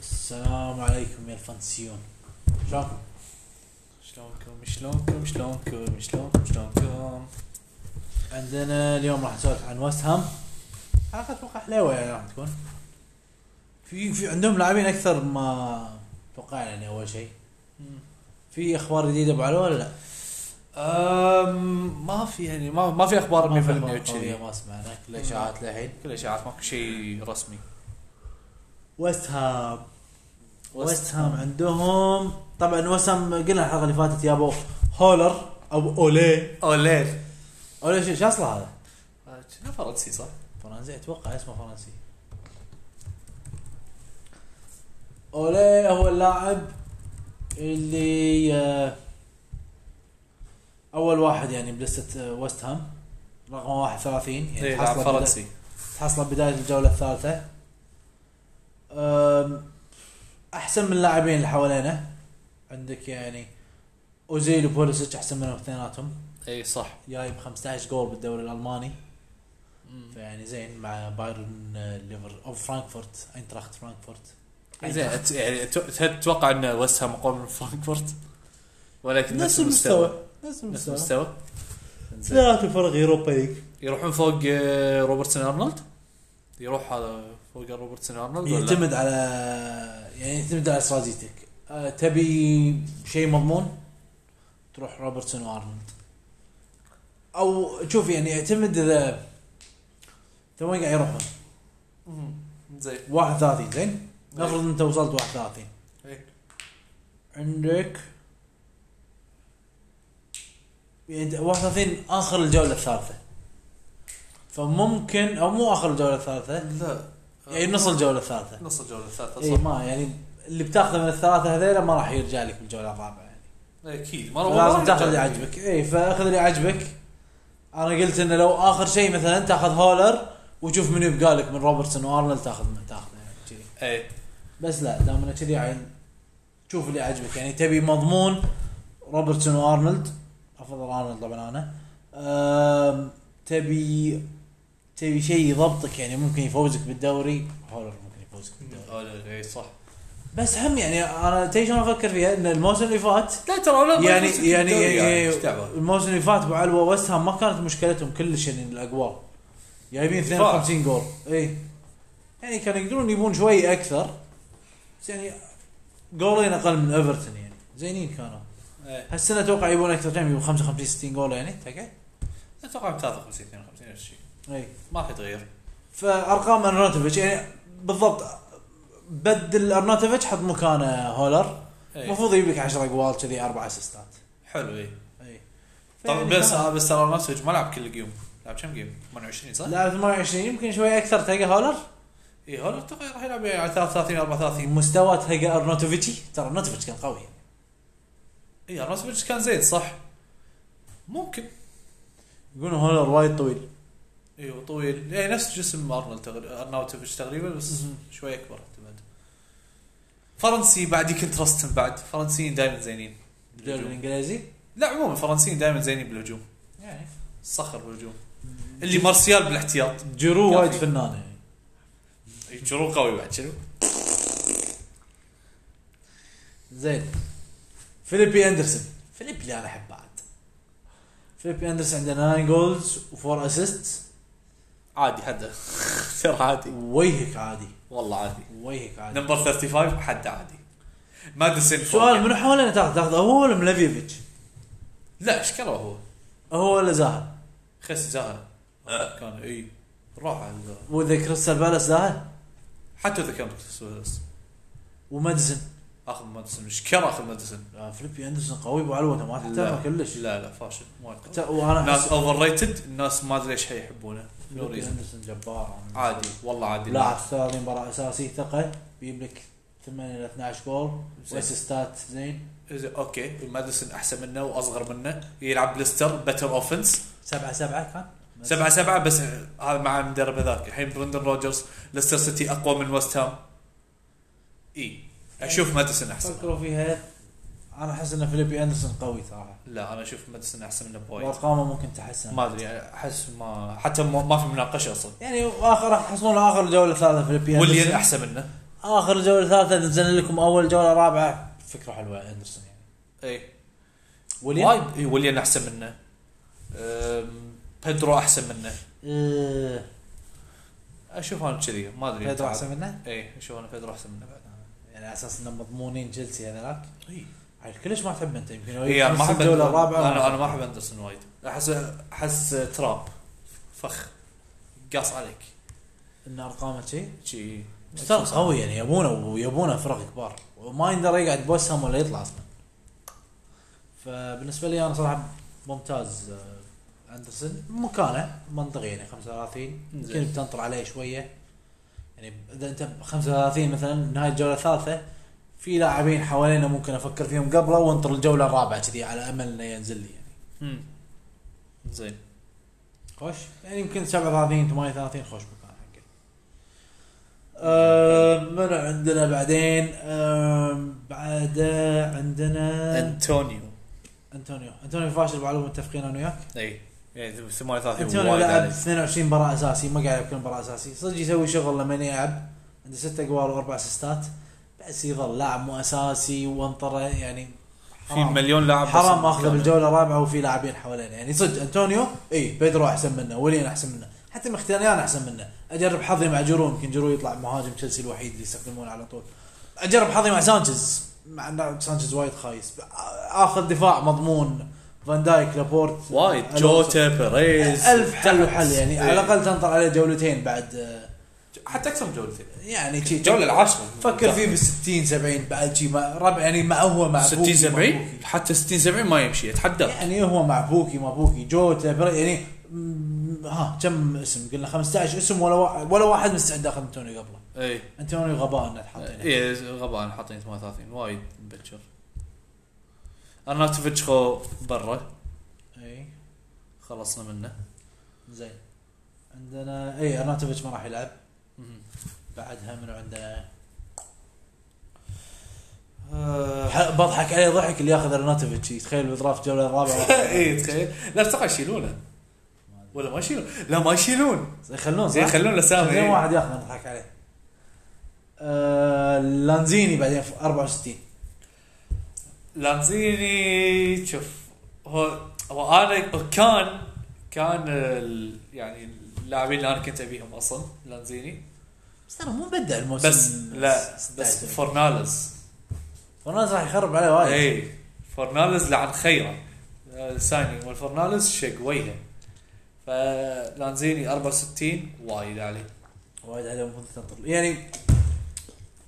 السلام عليكم يا الفانتسيون شلونكم؟ شلونكم شلونكم شلونكم شلونكم شلونكم عندنا اليوم راح نسولف عن وست هام حلقة اتوقع حلوة يعني راح تكون في في عندهم لاعبين اكثر ما توقعنا يعني اول شيء في اخبار جديدة ابو علو ولا لا؟ أم ما في يعني ما ما في اخبار 100% ما في أخبار قوية كذي ما سمعنا كل اشاعات للحين كل اشاعات ماكو شيء رسمي وست هام وست هام عندهم طبعا وست هام قلنا الحلقه اللي فاتت يابو هولر او اولي اوليل اولي شو- شو اصله هذا؟ شنو آه، فرنسي صح؟ فرنسي اتوقع اسمه فرنسي اولي هو اللاعب اللي آه، اول واحد يعني بلستة آه، وست هام رقم 31 يعني إيه، لاعب تحصله فرنسي تحصله بداية الجولة الثالثة أم، أحسن من اللاعبين اللي حوالينا عندك يعني أوزيل وبوليسيتش أحسن منهم اثنيناتهم اي إيه، صح جايب 15 جول بالدوري الألماني مم. فيعني زين مع بايرن آه، ليفر أو فرانكفورت أينتراخت فرانكفورت إيه، زين أت- يعني أت- هل تتوقع ان وست هام اقوى من فرانكفورت؟ ولكن نفس المستوى نفس نفس المستوى المستوى زين. ثلاثة فرق يوروبا ليج يروحون فوق آه، روبرتسون ارنولد؟ يروح هذا فوق روبرتسون ارنولد ولا؟ يعتمد على يعني يعتمد على استراتيجيتك أه، تبي شيء مضمون تروح روبرتسون وارنولد او شوف يعني يعتمد اذا تو وين قاعد يروحون مم. زين 31 زين نفرض انت وصلت 31 إيه. عندك يعني أنت 31 اخر الجوله الثالثه فممكن او مو اخر الجوله الثالثه لا آه، يعني نص الجوله الثالثه نص الجوله الثالثه اي ما يعني اللي بتاخذه من الثلاثه هذيلا ما راح يرجع لك بالجوله الرابعه يعني اكيد ما لازم تاخذ اللي عجبك اي فاخذ اللي عجبك انا قلت انه لو اخر شيء مثلا تاخذ هولر وشوف من يبقى لك من روبرتسون وارنولد تاخذ من تاخذه يعني كذي اي بس لا دام انه كذي عين شوف اللي عجبك يعني تبي مضمون روبرتسون وارنولد افضل ارنولد طبعا انا أم، تبي تبي شيء يضبطك يعني ممكن يفوزك بالدوري هولر ممكن يفوزك بالدوري اي إيه، صح بس هم يعني انا تدري شلون افكر فيها ان الموسم اللي فات لا ترى ولا يعني يعني, يعني الموسم اللي فات ابو علوه وست هام ما كانت مشكلتهم كلش يعني الاقوال جايبين دفاع. 52 جول اي يعني كانوا يقدرون يبون شوي اكثر بس يعني جولين اقل من ايفرتون يعني زينين كانوا إيه. هالسنه اتوقع يبون اكثر كم يبون 55 60 جول يعني تقع اتوقع 53 52 نفس الشيء اي ما راح يتغير فارقام ارناتوفيتش إيه. يعني بالضبط بدل ارناتوفيتش حط مكانه هولر إيه. المفروض يجيب لك 10 جوال كذي اربع اسيستات حلو إيه. اي اي طب فيعني بس كان- بس ترى نفسه ما لعب كل جيم لعب كم جيم 28 صح؟ لا 28 يمكن شوي اكثر تلقى هولر اي هو اتوقع إيه، راح يلعب يعني 33 34 مستوى تلقى ارنوتوفيتشي ترى ارنوتوفيتش كان قوي اي راسبيتش كان زين صح ممكن يقولون هولر وايد طويل ايوه طويل يعني نفس جسم ارنولد تقريبا ارناوتوفيتش تقريبا بس شوي اكبر اعتمد فرنسي بعد يكنترستن بعد فرنسيين دائما زينين بالدوري بالهجوم. الانجليزي لا عموما الفرنسيين دائما زينين بالهجوم يعني صخر بالهجوم اللي مارسيال بالاحتياط جيرو كافي. وايد فنان يعني جرو قوي بعد شنو؟ زين فيليبي اندرسون فيليبي اللي انا احبه عاد فيليبي اندرسون عنده 9 جولز و4 اسيست عادي حدا ترى عادي وجهك عادي والله عادي وجهك عادي نمبر 35 حد عادي ماديسون سؤال فوق. منو حوالينا تاخذ تاخذ هو ولا ملفيفيتش؟ لا ايش كره هو؟ هو ولا زاها؟ خس زهر كان اي راح على واذا كريستال بالاس زاها حتى اذا كان سويرس وماديسون اخذ ماديسون ايش كره اخذ ماديسون لا، فيليبي اندرسون قوي ابو علوه أنت ما تحترمه كلش لا لا فاشل ما أعتقد. حتى وانا أحس- ناس اوفر ريتد الناس ما ادري ايش يحبونه No لوكي reason. هندرسون جبار عادي والله عادي لاعب 30 مباراه اساسي ثقه بيجيب لك 8 الى 12 جول زين. واسيستات زين إذا- اوكي ماديسون احسن منه واصغر منه يلعب ليستر بتر اوفنس 7 7 كان سبعة سبعة بس هذا مع المدرب هذاك الحين برندن روجرز ليستر سيتي اقوى من وست هام اي اشوف ماديسون احسن فكروا فيها انا احس ان فيليبي اندرسون قوي صراحه لا انا اشوف ماديسون احسن منه بوايد وارقامه ممكن تحسن ما ادري احس ما حتى ما ما في مناقشه اصلا يعني اخر راح تحصلون اخر جوله ثالثه فيليبي واللي اندرسون احسن منه اخر جوله ثالثه نزلنا لكم اول جوله رابعه فكره حلوه اندرسون يعني اي وليان إيه. وايد اي وليان احسن منه أم، بيدرو احسن منه آه، اشوف انا كذي ما ادري بيدرو احسن منه اي اشوف انا بيدرو احسن منه بعد يعني على اساس انهم مضمونين جيلسي هذاك اي عاد كلش ما تحب انت يمكن هو إي، انا ما يخلص احب الجوله الرابعه انا انا ما احب اندرسون وايد احس احس تراب فخ قاص عليك ان ارقامه شيء شي ستار قوي يعني يبونه ويبونه فرق كبار وما يقدر يقعد بوسهم ولا يطلع اصلا فبالنسبه لي انا صراحه ممتاز آه، اندرسون مكانه منطقي يعني 35 يمكن زين. بتنطر عليه شويه يعني اذا انت ب 35 مثلا نهايه الجوله الثالثه في لاعبين حوالينا ممكن افكر فيهم قبله وانطر الجوله الرابعه كذي على امل انه ينزل لي يعني مم. زين خوش يعني يمكن 37 38 خوش مكان حقه. أه من عندنا بعدين أه بعد عندنا انتونيو انتونيو انتونيو فاشل معلومه متفقين انا وياك اي يعني 38 انتونيو وايد لعب عليك 22 مباراه اساسي ما قاعد يلعب كل مباراه اساسي صدق يسوي شغل لما يلعب عنده ست اقوال واربع اسيستات بس يظل لاعب مو اساسي وانطره يعني في مليون لاعب بس حرام اخذ مكانه. بالجوله الرابعه وفي لاعبين حوالينا يعني صدق انطونيو اي بيدرو احسن منه ولين احسن منه حتى مختاريان احسن منه اجرب حظي مع جيرو يمكن جيرو يطلع مهاجم تشيلسي الوحيد اللي يستخدمونه على طول اجرب حظي مع سانشيز مع ان سانشيز وايد خايس اخذ دفاع مضمون فان دايك لابورت وايد ألونسو. جوتا بيريز الف حل وحل يعني إيه. على الاقل تنطر عليه جولتين بعد آه، حتى اكثر من جولتين يعني شي الجوله العاشره فكر فيه ب 60 70 بعد شي مع- ربع يعني مع هو مع 60 بوكي، مع 70 حتى 60 70 ما يمشي اتحدى يعني هو مع بوكي ما بوكي جوتا بر- يعني م- ها كم اسم قلنا 15 اسم ولا وا- ولا واحد مستعد ياخذ انتونيو قبله اي انتونيو غباء انه تحط هنا. اي غباء حاطين 38 وايد مبكر ارناتوفيتش خو برا اي خلصنا منه زين عندنا اي ارناتوفيتش ما راح يلعب مهم. بعدها منو عندنا آه، ح- بضحك عليه ضحك اللي ياخذ ارناتوفيتش تخيل بالدرافت الجوله الرابعه اي تخيل لا اتوقع يشيلونه ولا ما يشيلون لا ما يشيلون يخلون زين صح؟ يخلون الاسامي زين إيه. واحد ياخذ نضحك عليه آه لانزيني بعدين في 64 لانزيني شوف هو هو انا كان كان ال- يعني اللاعبين اللي انا كنت ابيهم اصلا لانزيني بس ترى مو مبدع الموسم بس لا بس 16. فورنالز فرناز راح يخرب عليه وايد اي فورنالز إيه، لعن خيره آه، ثاني والفورنالز شق وجهه فلانزيني 64 وايد عليه وايد عليه المفروض تنطر يعني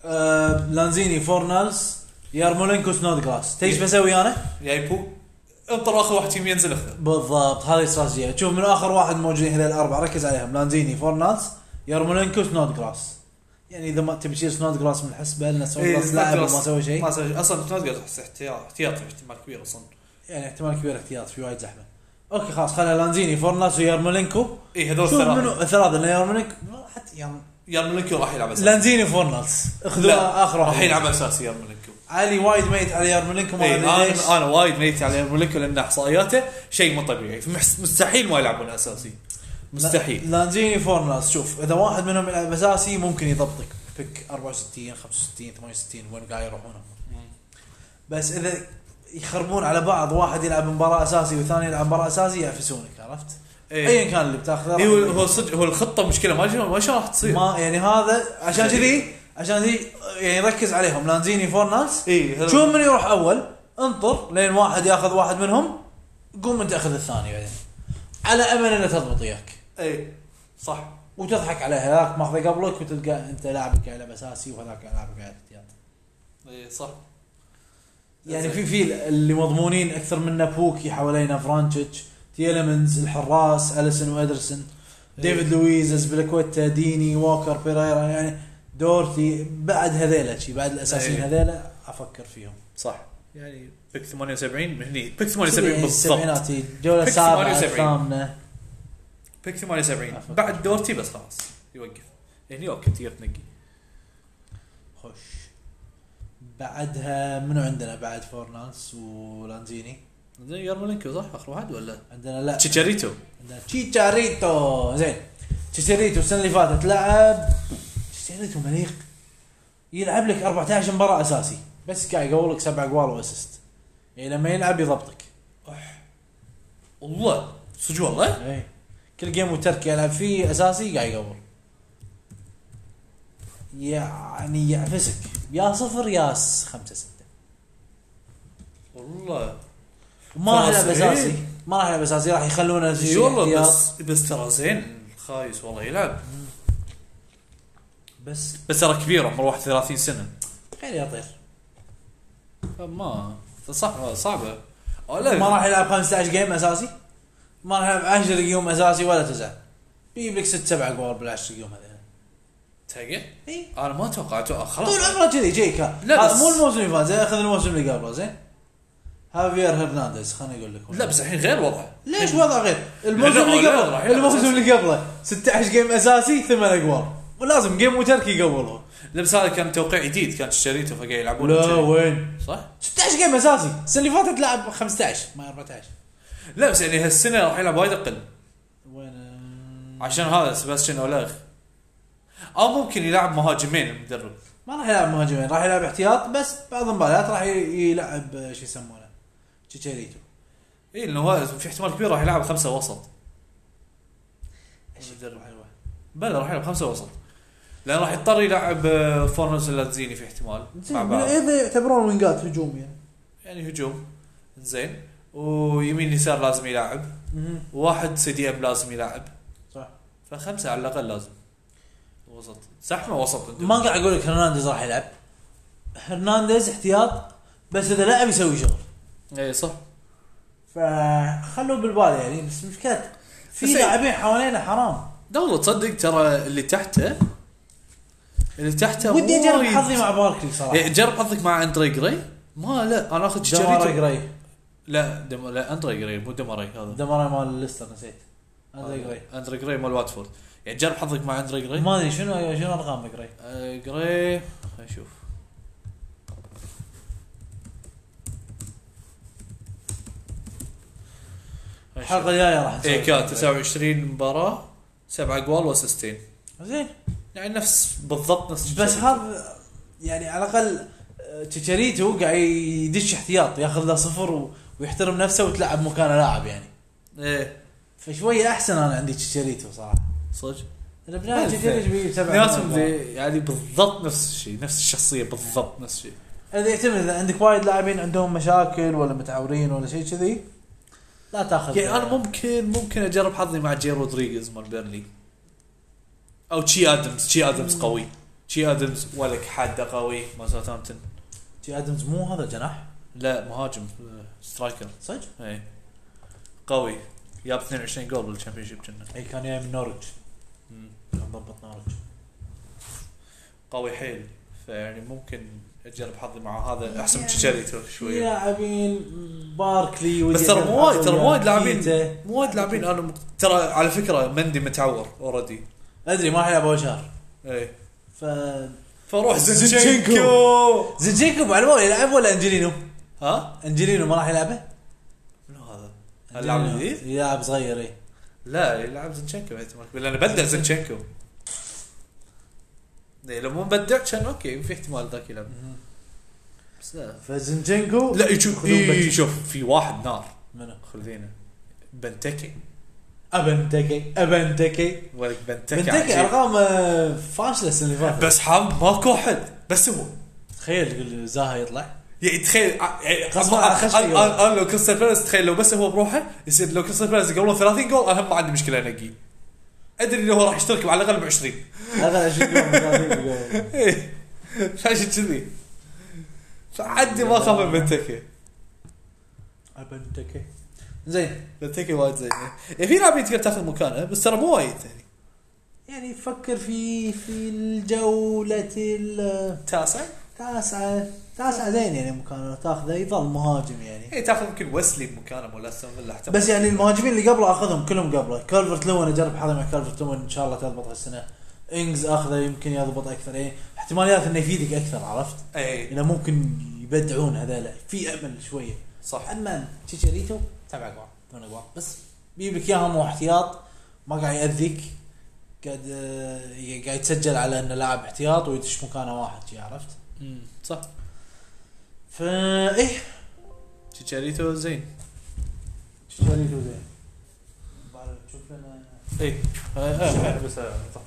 آه لانزيني فورنالز يارمولينكو سنود جلاس تدري ايش بسوي انا؟ جايبو انطر اخر واحد يم ينزل اخذه بالضبط هذه استراتيجيه تشوف من اخر واحد موجودين هذول الاربعه ركز عليهم لانزيني فورنالز يارمولينكو سنود جلاس يعني اذا ما تبي تشيل سنود جلاس من الحسبه لان سنود إيه، جلاس سنود لاعب وما جلاس. سوى شيء ما سوى شيء. اصلا تنزل احس احتياط احتياطي احتمال كبير اصلا يعني احتمال كبير احتياط في وايد زحمه اوكي خلاص خلينا لانزيني فورنالز ويارمولينكو اي إيه، هذول شوف منو الثلاثه الثلاثه لان يارمولينكو حتى يعني يرملكو راح يلعب اساسي لانزيني فورنالز لا، اخذوا اخر واحد راح يلعب اساسي يرملكو علي وايد ميت على يارمولينكو ما ادري انا ليش انا إيه، وايد ميت على يرملكو لان احصائياته شيء مو طبيعي محس- مستحيل ما يلعبون اساسي مستحيل لا- لانزيني فورناس شوف اذا واحد منهم يلعب اساسي ممكن يضبطك بيك 64 65 68 وين قاعد يروحون بس اذا يخربون على بعض واحد يلعب مباراه اساسي والثاني يلعب مباراه اساسي يعفسونك عرفت؟ اي ايا كان اللي بتاخذه راح إيه. هو يضيع. هو صدق هو الخطه مشكله ما شلون ما شلون راح تصير ما يعني هذا عشان كذي عشان كذي يعني ركز عليهم لانزيني فورناس اي شوف من يروح اول انطر لين واحد ياخذ واحد منهم قوم انت اخذ الثاني بعدين على امل انه تضبط وياك اي إيه، صح وتضحك عليه هذاك ماخذه قبلك وتلقى انت لاعبك قاعد يلعب اساسي وهذاك قاعد يلعب قاعد احتياط اي إيه، صح يعني في في اللي مضمونين اكثر منا بوكي حوالينا فرانشيتش تيلمنز الحراس اليسون وادرسون إيه. ديفيد لويز ازبلكويتا ديني ووكر بيريرا يعني دورتي بعد هذيلا شي بعد الاساسيين إيه. هذيلا افكر فيهم صح يعني بيك 78 من هني بيك يعني 78 بالضبط السبعيناتي الجوله بيك السابعه 78. الثامنه بيك 78 أفكر. بعد دورتي بس خلاص يوقف هني اوكي تقدر تنقي خش بعدها منو عندنا بعد فورنانس ولانزيني زين يرمولينكو صح اخر واحد ولا عندنا لا تشيتشاريتو عندنا تشيتشاريتو زين تشيتشاريتو السنه اللي فاتت لعب تشيتشاريتو مليق يلعب لك 14 مباراه اساسي بس قاعد يقول لك سبع اجوال واسيست يعني لما يلعب يضبطك والله صدق والله اي إيه. كل جيم وترك يلعب فيه اساسي قاعد يقول يعني يعفسك يا صفر يا س- خمسة ستة والله ما راح يلعب خلاص، اساسي إيه. ما راح يلعب اساسي راح يخلونه اي والله بس بس ترى زين خايس والله يلعب بس بس ترى كبير عمره 31 سنه تخيل يطير ما صح صعبه أو لا ما راح يلعب 15 جيم اساسي ما راح يلعب 10 يوم اساسي ولا تزعل بيجيب لك ست سبع جوال بال 10 يوم هذول تلقى اي انا ما توقعت خلاص طول عمره كذي جيك ها لا لا بس- مو الموسم اللي فات زين خذ الموسم اللي قبله زين هافير هرنانديز خليني اقول لك لا بس الحين غير وضعه ليش وضع غير؟ الموسم لا، اللي لا، راح قبله يلعب الموسم أساسي. اللي قبله 16 جيم اساسي ثمان اقوال ولازم جيم وتركي قبله لا بس هذا كان توقيع جديد كان شريته فقاعد يلعبون لا كذي. وين؟ صح؟ 16 جيم اساسي السنه اللي فاتت لعب 15 ما 14 لا بس يعني هالسنه راح يلعب وايد اقل وين آه، عشان هذا سباستيان اولاغ او ممكن يلعب مهاجمين المدرب ما راح يلعب مهاجمين راح يلعب احتياط بس بعض المباريات راح ي- يلعب آه، شو يسمونه تشيتشيريتو اي لانه إيه، هو في احتمال كبير راح يلعب خمسه وسط المدرب حلوه بلى راح يلعب خمسه وسط لان راح يضطر يلعب آه، فورنز اللاتزيني في احتمال مع زين إيه؟ بعض ايضا يعتبرون وينجات هجوم يعني يعني هجوم زين ويمين يسار لازم يلعب وواحد سي دي ام لازم يلعب صح. فخمسه على الاقل لازم وسط زحمه وسط عندهم. ما قاعد اقول لك هرنانديز راح يلعب هرنانديز احتياط بس اذا لعب يسوي شغل اي إيه، صح فخلوا بالبال يعني بس مشكلة في بس- إيه. لاعبين حوالينا حرام دولة تصدق ترى اللي تحته اللي تحته ودي اجرب وايد. حظي مع باركلي صراحة إيه، جرب حظك مع اندري جراي ما لا انا اخذ دماري شريته جراي لا دم... لا اندري جراي مو دمري هذا دماري مال ليستر نسيت اندري جراي اندري جراي مال واتفورد يعني جرب حظك مع اندري جراي ما ادري شنو أيوة، شنو ارقام جراي آه، جراي خلينا نشوف الحلقة الجاية راح نسوي اي كان جراي. 29 مباراة سبعة اجوال واسيستين زين يعني نفس بالضبط نفس بس شيء. هذا يعني على الاقل آه، تشاريتو قاعد يدش احتياط ياخذ له صفر و- ويحترم نفسه وتلعب مكانه لاعب يعني ايه فشوية احسن انا عندي تشاريتو صراحة صدق البناء بس. تشاريتو بيجيب سبعة اثنيناتهم ذي- يعني بالضبط نفس الشيء نفس الشخصية بالضبط نفس الشيء اذا يعتمد اذا عندك وايد لاعبين عندهم مشاكل ولا متعورين ولا شيء كذي لا تاخذ يعني انا ممكن ممكن اجرب حظي مع جي رودريغيز مال بيرلي او تشي ادمز تشي ادمز قوي تشي ادمز ولك حد قوي مال ساوثهامبتون جي ادمز مو هذا جناح لا مهاجم آه، سترايكر صدق؟ اي قوي جاب 22 جول بالشامبيون شيب كنا اي كان جاي من نورwich كان ضبط نورwich قوي حيل فيعني ممكن اجرب حظي مع هذا احسن من تشاريتو في شويه لاعبين باركلي بس ترى مو وايد ترى مو وايد لاعبين كيتا. مو وايد لاعبين انا مق- ترى على فكره مندي متعور إيه. اوريدي ادري ما حيلعب اول شهر اي ف فروح زنشينكو. زنشينكو زينشينكو بالمول يلعب ولا انجلينو؟ ها انجلينو ما راح يلعبه؟ منو هذا؟ اللاعب أنجلينو الجديد؟ يلعب صغير إيه. اي لا يلعب زنشنكو باحتمال كبير لانه بدع زنشنكو إيه، لو مو بدع كان اوكي في احتمال ذاك يلعب بس لا فزنجينكو لا إيه. يشوف خذوه بنتيكي. شوف في واحد نار منو؟ خذينا بنتكي ابنتكي ابنتكي ولك بنتكي بنتكي عجيب. ارقام آه، فاشله السنه اللي فاتت بس حام ماكو احد بس هو تخيل تقول زاها يطلع يعني تخيل ع- يعني قصدي على أصلاً- خشبي أنا- والله. أنا- انا لو كريستال بالاس تخيل لو بس هو بروحه يصير لو كريستال بالاس يقولون 30 جول انا ما عندي مشكله انقيه ادري انه هو راح يشترك على الاقل ب 20 هذا شو يقول؟ ايه عشان كذي فعدي ما اخاف من بنتكي ابنتكي زين بنتكي وايد زين يعني في لاعبين تقدر تاخذ مكانه بس ترى مو وايد يعني يعني فكر في في الجولة التاسعة تاسع تاسعة زين يعني مكان تاخذه يظل مهاجم يعني اي إيه، تاخذ يمكن ويسلي بمكانه مال استون فيلا احتمال بس يعني المهاجمين اللي قبله اخذهم كلهم قبله كالفرت لون اجرب حظي مع كالفرت لون ان شاء الله تضبط هالسنة انجز اخذه يمكن يضبط اكثر يعني احتماليات انه يفيدك اكثر عرفت؟ اي انه ممكن يبدعون هذول في امل شوية صح اما تشيريتو سبع اقوال ثمان اقوال بس بيجيب لك اياهم واحتياط ما قاعد ياذيك قاعد آه، قاعد يتسجل على انه لاعب احتياط ويدش مكانه واحد شي عرفت؟ امم صح فا ايه تشاريتو زين شريته زين بعد شوف لنا اي بس إيه. آه، طف.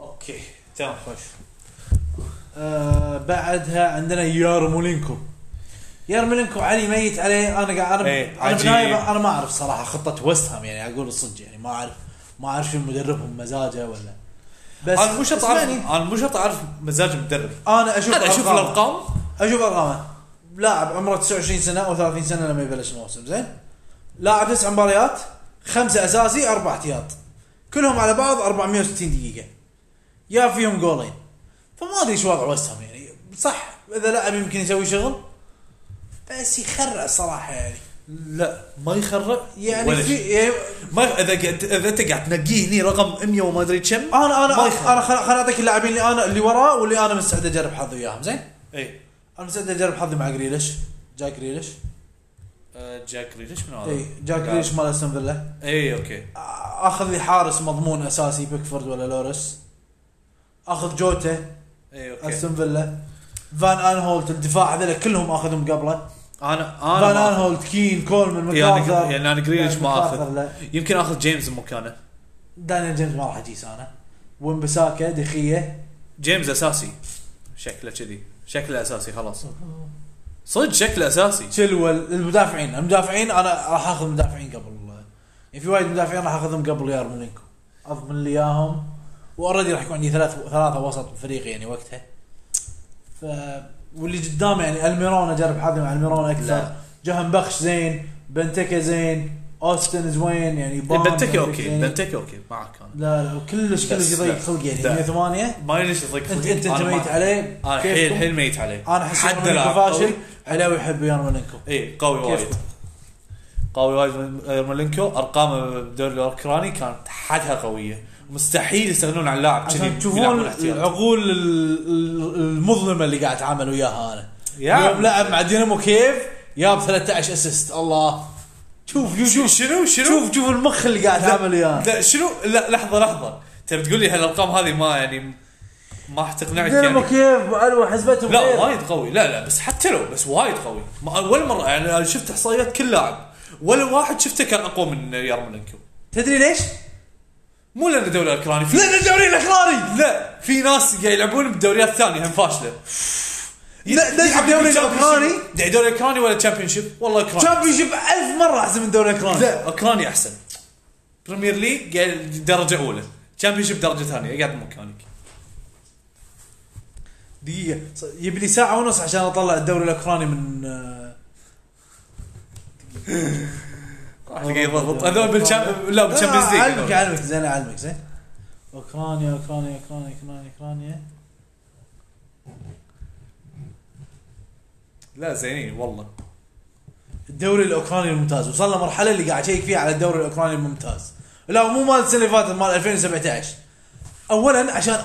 اوكي تمام خوش آه بعدها عندنا يارمولينكو يارمولينكو علي ميت عليه انا قاعد انا إيه، انا عجيب. بالنهاية انا ما اعرف صراحه خطه وست هام يعني اقول الصدق يعني ما اعرف ما اعرف شنو مدربهم مزاجه ولا بس انا مو شرط اعرف اسمعني، انا مو شرط اعرف مزاج المدرب انا اشوف انا اشوف أرقامه. الارقام اشوف ارقامه لاعب عمره 29 سنه او 30 سنه لما يبلش الموسم زين لاعب تسع مباريات خمسه اساسي اربع احتياط كلهم على بعض 460 دقيقه يا فيهم جولين فما ادري شو وضع وسام يعني صح اذا لاعب يمكن يسوي شغل بس يخرع صراحه يعني لا ما يخرع يعني ولا في شيء. يعني ما اذا قاعد اذا انت قاعد تنقيه هني رقم 100 وما ادري كم انا انا ما يخرع. انا خل- خل اعطيك اللاعبين اللي انا اللي وراه واللي انا مستعد اجرب حظي وياهم زين اي انا مستعد اجرب حظي مع جريليش جاك جريليش آه، جاك ريليش من هذا؟ اي إيه، جاك جريليش مال استون فيلا اي اوكي اخذ لي حارس مضمون اساسي بيكفورد ولا لوريس اخذ جوتا اي اوكي استون فيلا فان ان هولت الدفاع هذول كلهم اخذهم قبله انا فان ان انا ما- هولت كين كولمان يعني ماكارثر يعني انا جريليش ما ماكارثر اخذ لا. يمكن اخذ جيمس مكانه دانيال جيمس ما راح اجيس انا ومبساكا دخيه جيمس اساسي شكله كذي شكله اساسي خلاص صدق شكله اساسي تشلول المدافعين المدافعين انا راح اخذ مدافعين قبل يعني في وايد مدافعين راح اخذهم قبل يارمولينكو اضمن لي اياهم واوريدي راح يكون عندي ثلاث ثلاثه وسط فريق يعني وقتها ف واللي قدامه يعني الميرون اجرب حظي مع الميرون اكثر لا. جهن بخش زين بنتكا زين اوستن زوين إيه، يعني بان بنتكي اوكي زين. بنتكي اوكي معك انا لا لا وكلش كلش بس يضيق لا. خلق يعني لا. 108 ما أدري ليش انت يضيق خلقي. انت أنا انت ما- ميت عليه آه. انا حيل كيفكم؟ حيل ميت عليه انا احس حد يارمولينكو لاعب فاشل قوي. علاوي يحب يارمولينكو اي إيه، قوي وايد كيفكم؟ قوي وايد مالينكو ارقامه بالدوري الاوكراني كانت حدها قويه مستحيل يستغنون عن لاعب كذي عشان تشوفون يلعبون احتياط. العقول ال- ال- المظلمه اللي قاعد اتعامل وياها انا يا يوم لعب مع دينامو كيف جاب 13 اسيست الله شوف شوف شوف شنو شنو شوف شوف المخ اللي قاعد اتعامل وياه لا شنو لا لحظه لحظه تبي تقول لي هالارقام هذه ما يعني ما حتقنعك دينامو يعني كيف وعلوه حسبتهم لا غير. وايد قوي لا لا بس حتى لو بس وايد قوي ما اول مره يعني أنا شفت احصائيات كل لاعب ولا واحد شفته كان اقوى من يارمولينكو تدري ليش؟ مو لان الدوري الاوكراني في لان الدوري الاخراني لا في ناس قاعد يلعبون بدوريات ثانيه هم فاشله لا، ليش الدوري الأوكراني؟ الدوري الاوكراني ولا تشامبيون شيب والله اوكراني تشامبيون شيب 1000 مره احسن من الدوري الاخراني لا اوكراني احسن بريمير ليج قاعد درجه اولى تشامبيون شيب درجه ثانيه قاعد مكانك دقيقه ص- يبي لي ساعه ونص عشان اطلع الدوري الاوكراني من آه، راح تلقى يضبط هذول بالشام- لا بالشامبيونز لا، اعلمك ليج اعلمك زين اعلمك زين اوكرانيا اوكرانيا اوكرانيا اوكرانيا اوكرانيا لا زينين والله الدوري الاوكراني الممتاز وصلنا مرحله اللي قاعد اشيك فيها على الدوري الاوكراني الممتاز لا مو مال السنه اللي فاتت مال 2017 اولا عشان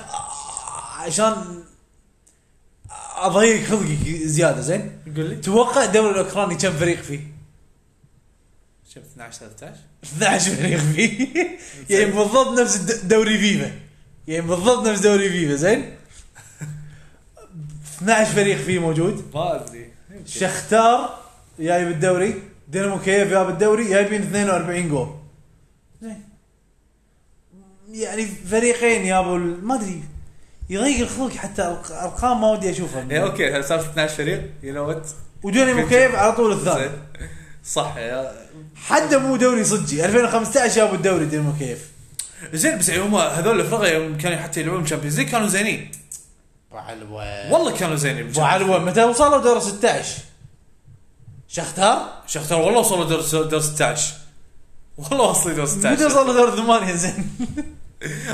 عشان اضيق خلقي زياده زين قول لي توقع الدوري الاوكراني كم فريق فيه؟ شوف 12 13 12 فريق فيه يعني بالضبط نفس الد- دوري فيفا يعني بالضبط نفس دوري فيفا زين 12 فريق فيه موجود ما ادري شختار جايب الدوري دينامو كييف جايب الدوري جايبين 42 جول زين يعني فريقين جابوا ال- ما ادري يضيق الخلق حتى أرق- ارقام ما ودي اشوفها ايه اوكي هل صارت 12 فريق يو نو وات ودينامو كييف على طول الثاني صح يا حتى مو دوري صجي 2015 جابوا الدوري دينامو كييف زين بس هم هذول الفرقه يوم كانوا حتى يلعبون تشامبيونز ليج كانوا زينين وعلوه والله كانوا زينين وعلوه متى وصلوا دور 16 شختار شختار والله وصلوا دور دور 16 والله وصلوا دور متى 16 وصلوا دور ثمانية زين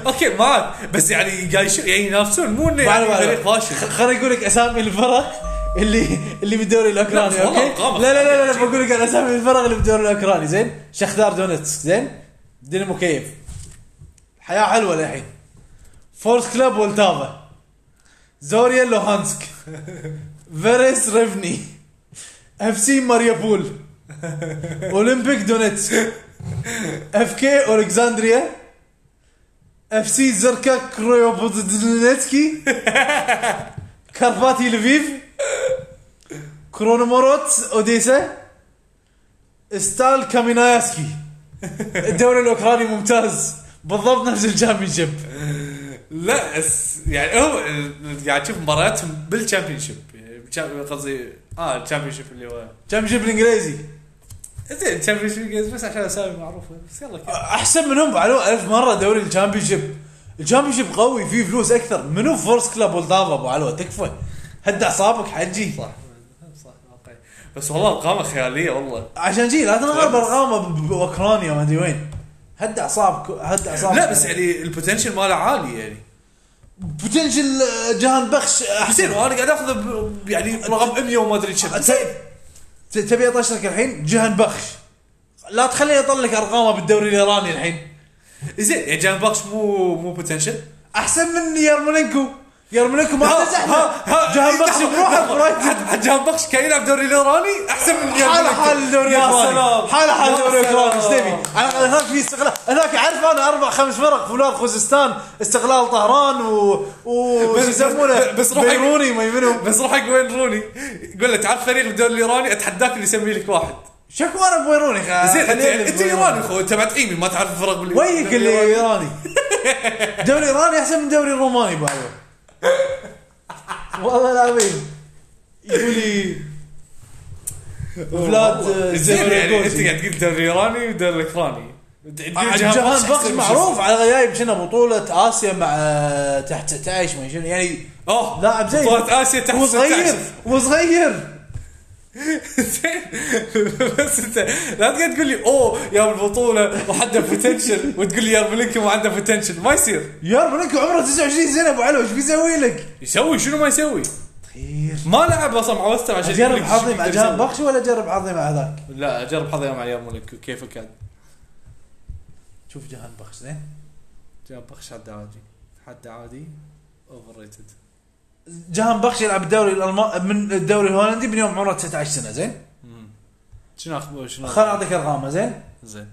اوكي معك بس يعني قاعد يش- يعني ينافسون مو انه يعني معلومة. فريق خ- فاشل خليني اقول لك اسامي الفرق اللي اللي بالدوري الاوكراني لا، والله اوكي أرقامك. لا لا لا لا, لا بقول لك أنا اسامي الفرق اللي بالدوري الاوكراني زين شختار دونتسك زين دينامو كييف حياه حلوه للحين فورس كلاب والتافا زوريا لوهانسك فيريس ريفني اف سي ماريابول اولمبيك دونتسك اف كي اولكساندريا اف سي زركا كروبودنسكي كارباتي لفيف كرونوموروت اوديسا ستال كامينايسكي الدوري الاوكراني ممتاز بالضبط نفس الشامبيونشيب لا اس يعني هو قاعد تشوف مبارياتهم بالشامبيونشيب يعني بالشام- قصدي اه الشامبيونشيب اللي هو شامبيونشيب الانجليزي زين الشامبيونشيب بس عشان اسامي معروفه بس يلا كذا احسن منهم علو ألف مره دوري الشامبيونشيب الشامبيونشيب قوي فيه فلوس اكثر منو فورس كلاب والطابه ابو علو تكفى هد اعصابك حجي صح صح واقعي بس والله ارقامه خياليه والله عشان جي لا تنغرب ارقامه ب- باوكرانيا ما ادري وين هد اعصابك هد اعصابك لا بس يعني البوتنشل ماله عالي يعني بوتنشل جهان بخش زين احسن وانا قاعد اخذه ب- يعني رقم 100 وما ادري كم ت- ت- تبي اطشرك الحين جهان بخش لا تخليني اطلع لك ارقامه بالدوري الايراني الحين زين يعني جان باكش مو مو بوتنشل احسن من يرمولينكو يرمولينكو ما ها- عنده زحمه ها- ها- جهان بخش لحظة، بروحه لحظة. برايتون. حد- حد جان بخش كان يلعب دوري الايراني احسن من حالة حال الدوري الاوكراني حالة حال الدوري الاوكراني ايش تبي؟ على الاقل هناك في استغلال هناك اعرف انا اربع خمس فرق فلان خوزستان استغلال طهران و و بس- شو يسمونه بس روح- بيروني ما منو بس روح حق وين روني يقول له تعال فريق بالدوري الايراني اتحداك اللي يسمي لك واحد شكوى انا بويروني خ- زين انت خليني انت بويروني. ايراني اخو انت بعد عيمي ما تعرف الفرق باللي- آه، ويك اللي بالإيراني. ايراني دوري ايراني احسن من دوري الروماني بعد والله العظيم يقول لي فلاد آه، زين يعني انت زيبريكوزي. قاعد تقول الدوري الايراني والدوري الاوكراني عاد جهان بخش معروف على غيايب شنو بطولة اسيا مع آه، تحت 19 ما شنو يعني اوه لاعب زين. بطولة اسيا تحت وصغير 16. وصغير زين بس انت لا تقعد تقول لي اوه يا البطوله وحده بوتنشل وتقول لي يا بلينكو ما عنده بوتنشل ما يصير يا بلينكو عمره 29 سنة ابو علو ايش بيسوي لك؟ يسوي شنو ما يسوي خير ما لعب اصلا مع وستر عشان يقول اجرب لك حظي شو مع يقدر جهان يسوي. بخش ولا اجرب حظي مع ذاك؟ لا اجرب حظي مع يوم ملك كيف كان شوف جهان بخش زين جاب بخش حد عادي حد عادي اوفر ريتد جهان بخش يلعب الدوري الالماني من الدوري الهولندي من يوم عمره 19 سنة زين شنو اخبار شنو خل اعطيك ارقامه زين زين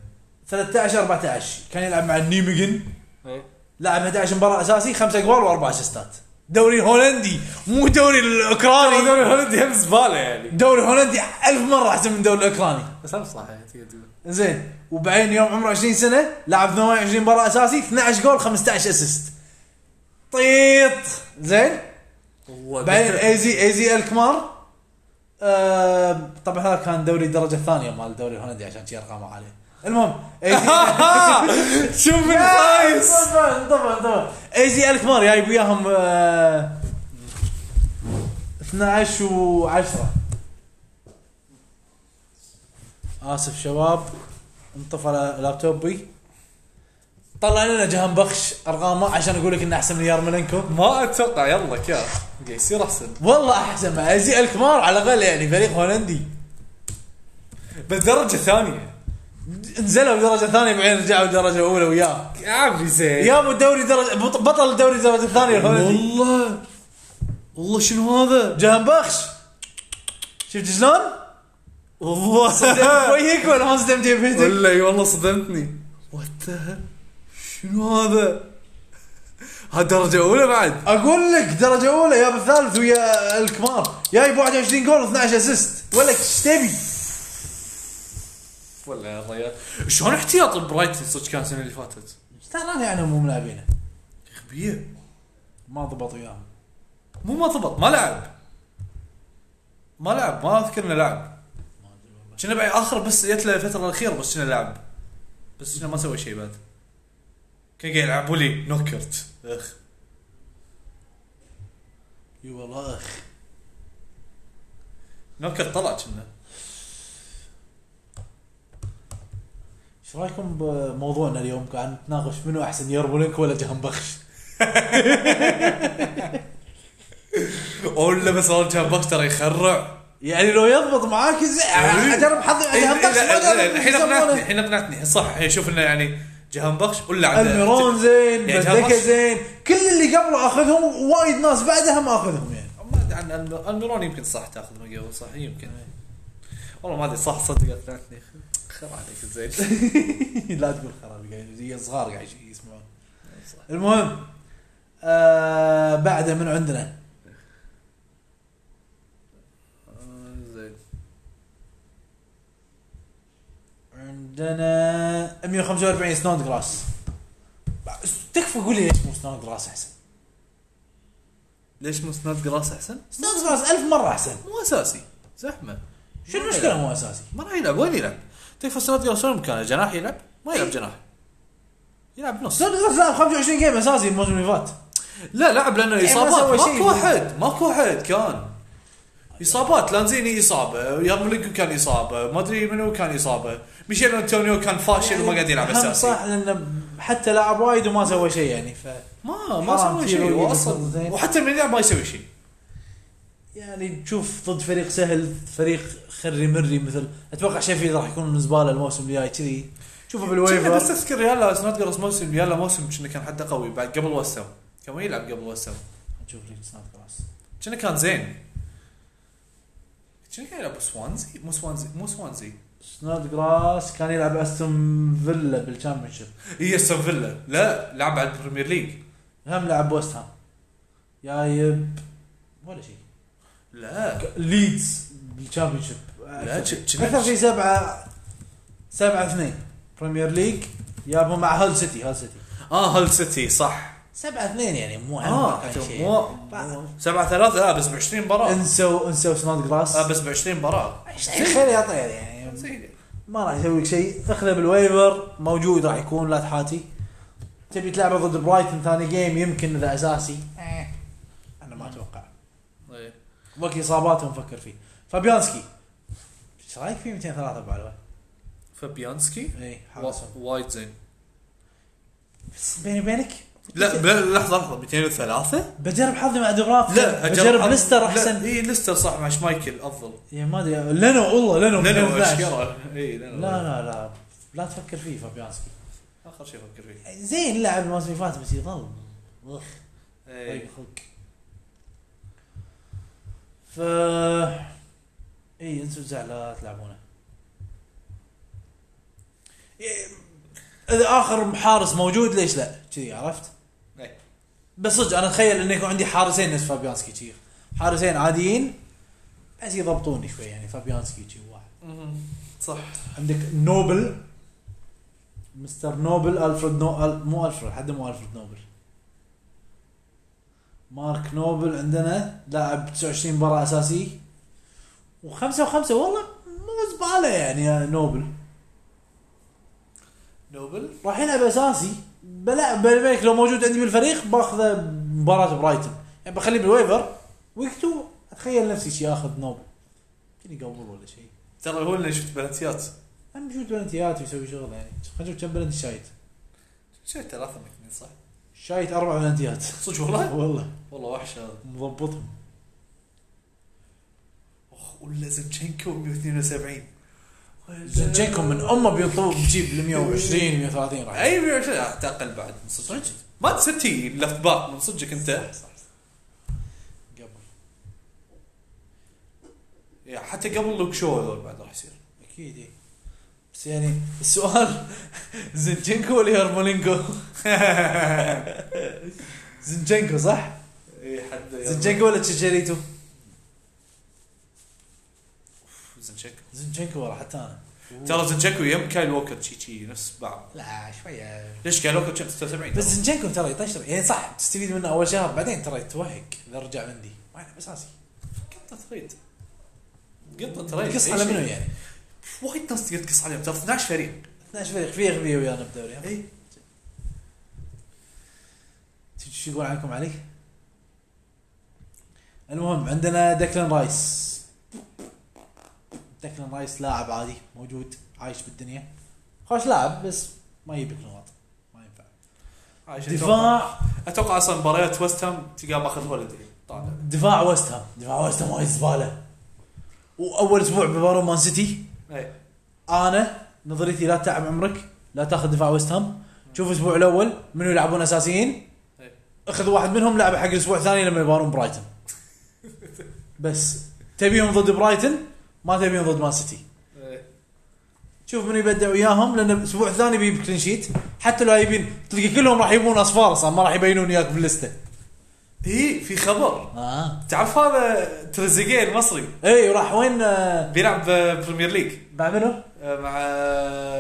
13 14 كان يلعب مع النيمجن إيه. لعب 11 مباراة اساسي خمسة اجوال واربع اسيستات دوري هولندي مو دوري الاوكراني الدوري الهولندي هم زباله يعني دوري هولندي ألف مرة أحسن من الدوري الأوكراني بس هم صح يعني تقدر تقول زين وبعدين يوم عمره 20 سنة لعب 28 مباراة أساسي 12 جول 15 اسيست طيط زين والله بعدين إيه. ايزي ايزي الكمار آه طبعا هذا كان دوري الدرجة الثانية مال الدوري الهولندي عشان شي أرقامه عالية المهم ايزي شوف من خايس طبعا طبعا طبعا ايزي الكمار جايب وياهم آه، 12 و10 اسف شباب انطفى لابتوبي طلع لنا جهان بخش ارقامه عشان اقول لك انه احسن من يارملينكو ما اتوقع يلا كذا قاعد يصير احسن والله احسن مع ايزي الكمار على الاقل يعني فريق هولندي بس درجه ثانيه نزلوا بدرجه ثانيه بعدين رجعوا الدرجه الاولى وياه يا عمي زين يابوا الدوري درجه بط- بطل الدوري الدرجه الثانيه الهولندي والله والله شنو هذا؟ جهان بخش شفت شلون؟ والله صدمت وجهك ولا ما صدمت بيتك؟ ولا اي والله صدمتني وات شنو هذا؟ هذا درجة أولى بعد اقول لك درجه اولى يا بالثالث ويا الكمار جايب 21 جول و12 اسيست ولا ايش تبي؟ ولا يا الرجال شلون احتياط برايتون صدق كان السنة اللي فاتت؟ ترى يعني مو ملاعبينه غبية ما ضبط وياهم مو ما ضبط ما لعب ما لعب ما اذكر انه لعب كنا بعد اخر بس جت له الفترة الأخيرة بس كنا لعب بس كنا ما سوى شيء بعد كان قاعد يلعبوا لي نوكرت اخ اي والله اخ نوكرت طلع كنا ايش رايكم بموضوعنا اليوم قاعد نتناقش منو احسن يربولينك ولا جهان بخش؟ ولا بس والله جاب بخت ترى يخرع يعني لو يضبط معاك زي- اجرب حظي على جهان بخش ما إيه، إيه، أدري الحين شو اقنعتني يسمونه. الحين اقنعتني صح إيه، شوف انه يعني جهان بخش ولا عنده الميرون زين يعني جهان بدكه بخش. زين كل اللي قبله اخذهم وايد ناس بعدها ما اخذهم يعني ما ادري عن الم- الميرون يمكن صح تاخذ من قبل صح يمكن والله ما ادري صح صدق اقنعتني خرع عليك زين لا تقول خرابي قاعد هي صغار قاعد يسمعون المهم آه بعده من عندنا آه، زين عندنا 145 سنود جراس تكفى قول لي ليش مو سنود جراس احسن ليش مو سناد جراس احسن؟ سنود جراس ألف مره احسن مو اساسي زحمه شو ما المشكله يلعب. مو اساسي ما راح يلعب وين يلعب؟ طيب، تكفى سناد جراس وين مكانه؟ جناح يلعب؟ ما يلعب جناح يلعب نص سنود جراس لعب 25 جيم اساسي الموسم اللي فات لا لعب لانه ما سوى اصابات إيه، شيء. ماكو احد ماكو احد كان اصابات لانزيني اصابه يارمولينكو كان اصابه ما ادري منو كان اصابه ميشيل انتونيو كان فاشل وما قاعد يلعب هم اساسي صح لانه حتى لعب وايد وما سوى شيء يعني ف ما ما حرام سوى تيرو شيء يجيب واصلا الفرد زين. وحتى من يلعب ما يسوي شيء يعني تشوف ضد فريق سهل فريق خري مري مثل اتوقع شيفيلد راح يكون من زباله الموسم الجاي كذي تشوفه كنا بس بالويفر اذكر يلا سناد جراس موسم يلا موسم كنا كان حده قوي بعد قبل وسام كان وين يلعب قبل وسام نشوف ليك سناب كلاس كنا كان زين كنا كان يلعب سوانزي مو سوانزي مو سوانزي سناد جراس كان يلعب استون فيلا بالشامبيونشيب هي استون فيلا لا لعب على البريمير ليج هم لعب ويست هام جايب ولا شيء لا ليدز بالشامبيونشيب لا، ش- ش- اكثر شيء سبعه سبعه اثنين بريمير ليج جابهم مع هال سيتي هال سيتي اه هل سيتي صح سبعة اثنين يعني مو هم اه كان شيء. مو سبعة ثلاثة لا بس ب 20 مباراة انسوا انسوا سناد جراس آه بس ب 20 مباراة شيء خير يا طير يعني زين. ما راح يسوي لك شيء اخذه بالويفر موجود راح يكون لا تحاتي تبي تلعبه ضد برايتون ثاني جيم يمكن اذا اساسي إيه. انا ما اتوقع إيه. وقت اصاباته نفكر فيه فابيانسكي ايش رايك في 203 بعلوه؟ فبيانسكي اي وا- وايد زين إيه، بس بيني وبينك لا ب- لحظة لحظة 203 بجرب حظي مع دبراف لا إيه. بجرب ليستر احسن اي ليستر صح مع شمايكل افضل يعني ما ادري لينو والله لينو لانه 12. اشكره اي لانه لا لا لا لا تفكر فيه فابيانسكي اخر شيء افكر فيه زين لعب الموسم اللي فات بس يظل اخ طيب، إيه. ف اي انتم لا تلعبونه إيه، اذا اخر محارس موجود ليش لا؟ كذي عرفت؟ إيه. بس صدق انا اتخيل انه يكون عندي حارسين نفس فابيانسكي كذي حارسين عاديين بس يضبطوني شوي يعني فابيانسكي كذي واحد مهم. صح عندك نوبل مستر نوبل الفريد نو أل- مو الفريد حد مو الفريد نوبل مارك نوبل عندنا لاعب 29 مباراه اساسي وخمسة وخمسة والله مو زبالة يعني يا نوبل نوبل راح يلعب اساسي بلا بالي بالك لو موجود عندي بالفريق باخذه بمباراة برايتون يعني بخليه بالويفر ويك تو اتخيل نفسي شي اخذ نوبل كني قبل ولا شيء ترى هو اللي شفت بلنتيات هم يشوت بلنتيات ويسوي شغل يعني خلينا نشوف كم بلنتي شايت شيء ثلاثة من اثنين صح؟ شايت اربع بلنتيات صدق والله؟ والله والله وحش هذا مضبطهم اخ ولا زنشنكو 172 ولا- زنشينكو من امه بيطلب بجيب ل 120 130 راح اي 120 اعتقل بعد من صدق ما تستي لفت باك من صدقك انت قبل يعني حتى قبل لوك شو هذول بعد راح يصير اكيد إي. بس يعني السؤال زنشينكو ولا يارمولينكو؟ زنشينكو صح؟ اي إيه، حد زنشينكو ولا تشيريتو؟ زنشنكو زنشينكو والله حتى انا ترى زنشنكو يم كايل ووكر شي شي نفس بعض لا شويه ليش كايل ووكر كم 76 بس بس زنشينكو ترى يطشر يعني صح تستفيد منه اول شهر بعدين ترى يتوهق اذا رجع عندي ما يلعب اساسي قطه تريد قطه تريد يقص أي على شيء. منو يعني؟ وايد ناس تقدر تقص عليهم ترى 12 فريق 12 فريق فيه اغبياء ويانا بالدوري ها؟ اي شو- شو يقول عنكم علي؟ المهم عندنا دكلان رايس دكلان رايس لاعب عادي موجود عايش بالدنيا خوش لاعب بس ما يجيب لك نقاط ما ينفع دفاع اتوقع اصلا مباريات ويست هام تلقاه ماخذ هوليدي طالع دفاع ويست هام دفاع ويست هام وايد زباله واول اسبوع بمباراه مان سيتي اي انا نظريتي لا تعب عمرك لا تاخذ دفاع ويست هام شوف الاسبوع الاول منو يلعبون اساسيين إيه. اخذ واحد منهم لعبه حق الاسبوع الثاني لما يبارون برايتون بس تبيهم ضد برايتون ما تبيهم ضد مان سيتي شوف من يبدع وياهم لان الاسبوع الثاني بيجيب كلين شيت حتى لو يبين تلقى كلهم راح يبون اصفار اصلا ما راح يبينون اياك باللسته اي إيه، في خبر اه تعرف هذا تريزيجيه المصري اي إيه، وراح وين آه، بيلعب بريمير ليج مع منو؟ آه، مع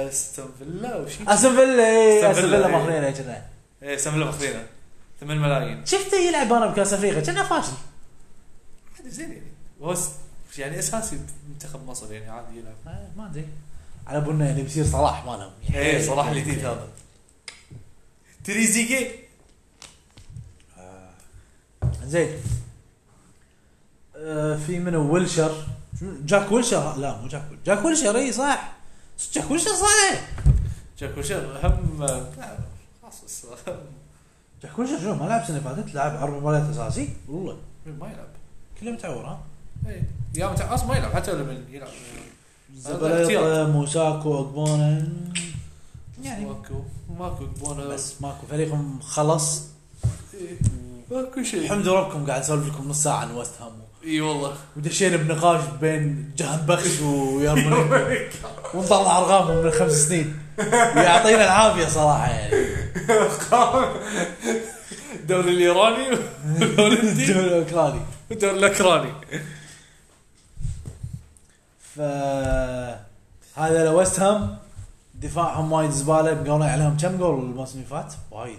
استون فيلا او شيء استون فيلا اي أستون استون فيلا، فيلا إي. ماخذينه كنا ايه استون فيلا ماخذينه 8 ملايين شفته يلعب انا بكاس افريقيا كنا فاشل عادي زين يعني هو س- يعني اساسي منتخب مصر يعني عادي يلعب آه، ما ادري على بالنا يعني بيصير صلاح مالهم يعني ايه صراحه الجديد هذا تريزيجيه آه. زين آه، في منو ويلشر شو- جاك ويلشر لا مو جاك ويلشر. جاك ويلشر اي صح جاك ويلشر صح جاك وشر هم لا، خلاص بس جاك ويلشر شو ما لعب سنه فاتت لعب اربع مباريات اساسي والله ما يلعب كله متعور ها ايه يا متع- اصلا ما يلعب حتى لو من يلعب زبليطه موساكو اقبونا يعني ماكو ماكو بونا بس ماكو فريقهم خلص إيه، ماكو شيء الحمد ربكم قاعد اسولف لكم نص ساعه عن وست هام اي والله ودشينا بنقاش بين جهان بخش Oh ويرمن ونطلع ارقامهم من خمس سنين يعطينا العافيه صراحه يعني الدوري الايراني والهولندي الدوري الاوكراني والدوري الاوكراني ف هذا لو وست هام دفاعهم وايد زباله بقولوا عليهم كم جول الموسم اللي فات؟ وايد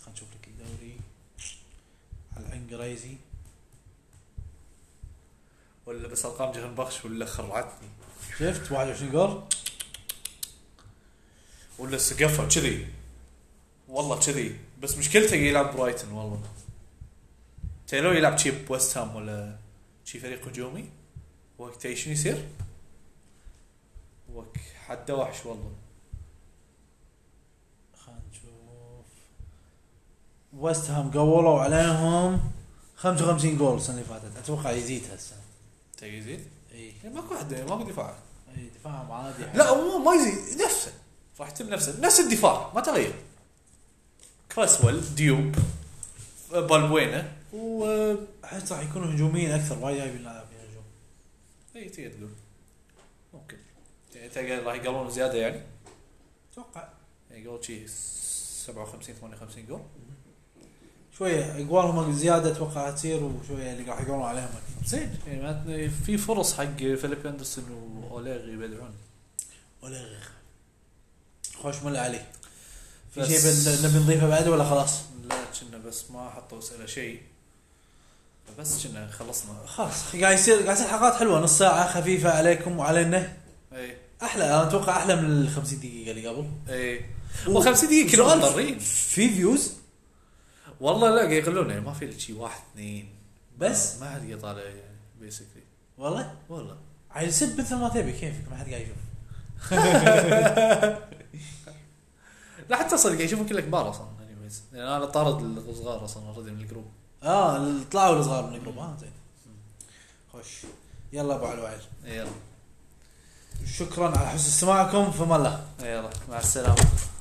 خلينا نشوف لك الدوري على الانجليزي ولا بس ارقام جهان بخش ولا خرعتني شفت 21 جول ولا سقفها كذي والله كذي بس مشكلته يلعب برايتن والله تيلو يلعب شي بويست هام ولا شي فريق هجومي وقت ايش يصير وك حده وحش والله خلينا نشوف وست هام قولوا عليهم 55 جول السنه اللي فاتت اتوقع يزيد هالسنه تيزيد اي يعني ماكو حد ماكو دفاع اي دفاعهم عادي لا هو ما يزيد نفسه راح يتم نفسه نفس الدفاع ما تغير كراسويل ديوب آه، بالبوينا احس راح يكونوا هجوميين اكثر وايد جايبين لاعبين هجوم اي إيه، تقدر تقول ممكن يعني تقدر راح يقلون زياده يعني اتوقع يعني جول شي 57 58 جول شويه اقوالهم زياده اتوقع تصير وشويه اللي راح يقولون عليهم اكثر زين يعني معناتنا في فرص حق فيليب اندرسون واوليغ يبدعون ولا غير خوش ملا علي في بس- شيء بن- نبي نضيفه بعد ولا خلاص؟ لا كنا بس ما حطوا اسئله شيء بس كنا خلصنا خلاص قاعد يصير قاعد يصير حلقات حلوه نص ساعه خفيفه عليكم وعلينا اي احلى انا اتوقع احلى من ال 50 دقيقه اللي قبل اي و50 دقيقه كنا سؤال مضطرين في فيوز والله لا قاعد يغلون يعني ما في شيء واحد اثنين بس؟ ما حد يطالع يعني بيسكلي والله والله عيل سب مثل ما تبي كيفك ما حد قاعد يشوف لا حتى صدق قاعد يشوفون كله كبار اصلا يعني بس- يعني انا طارد الصغار اصلا اوريدي من الجروب اه ال- طلعوا الصغار من الجروب اه زين خوش يلا ابو علي وعيل يلا شكرا على حسن استماعكم فما الله يلا مع السلامه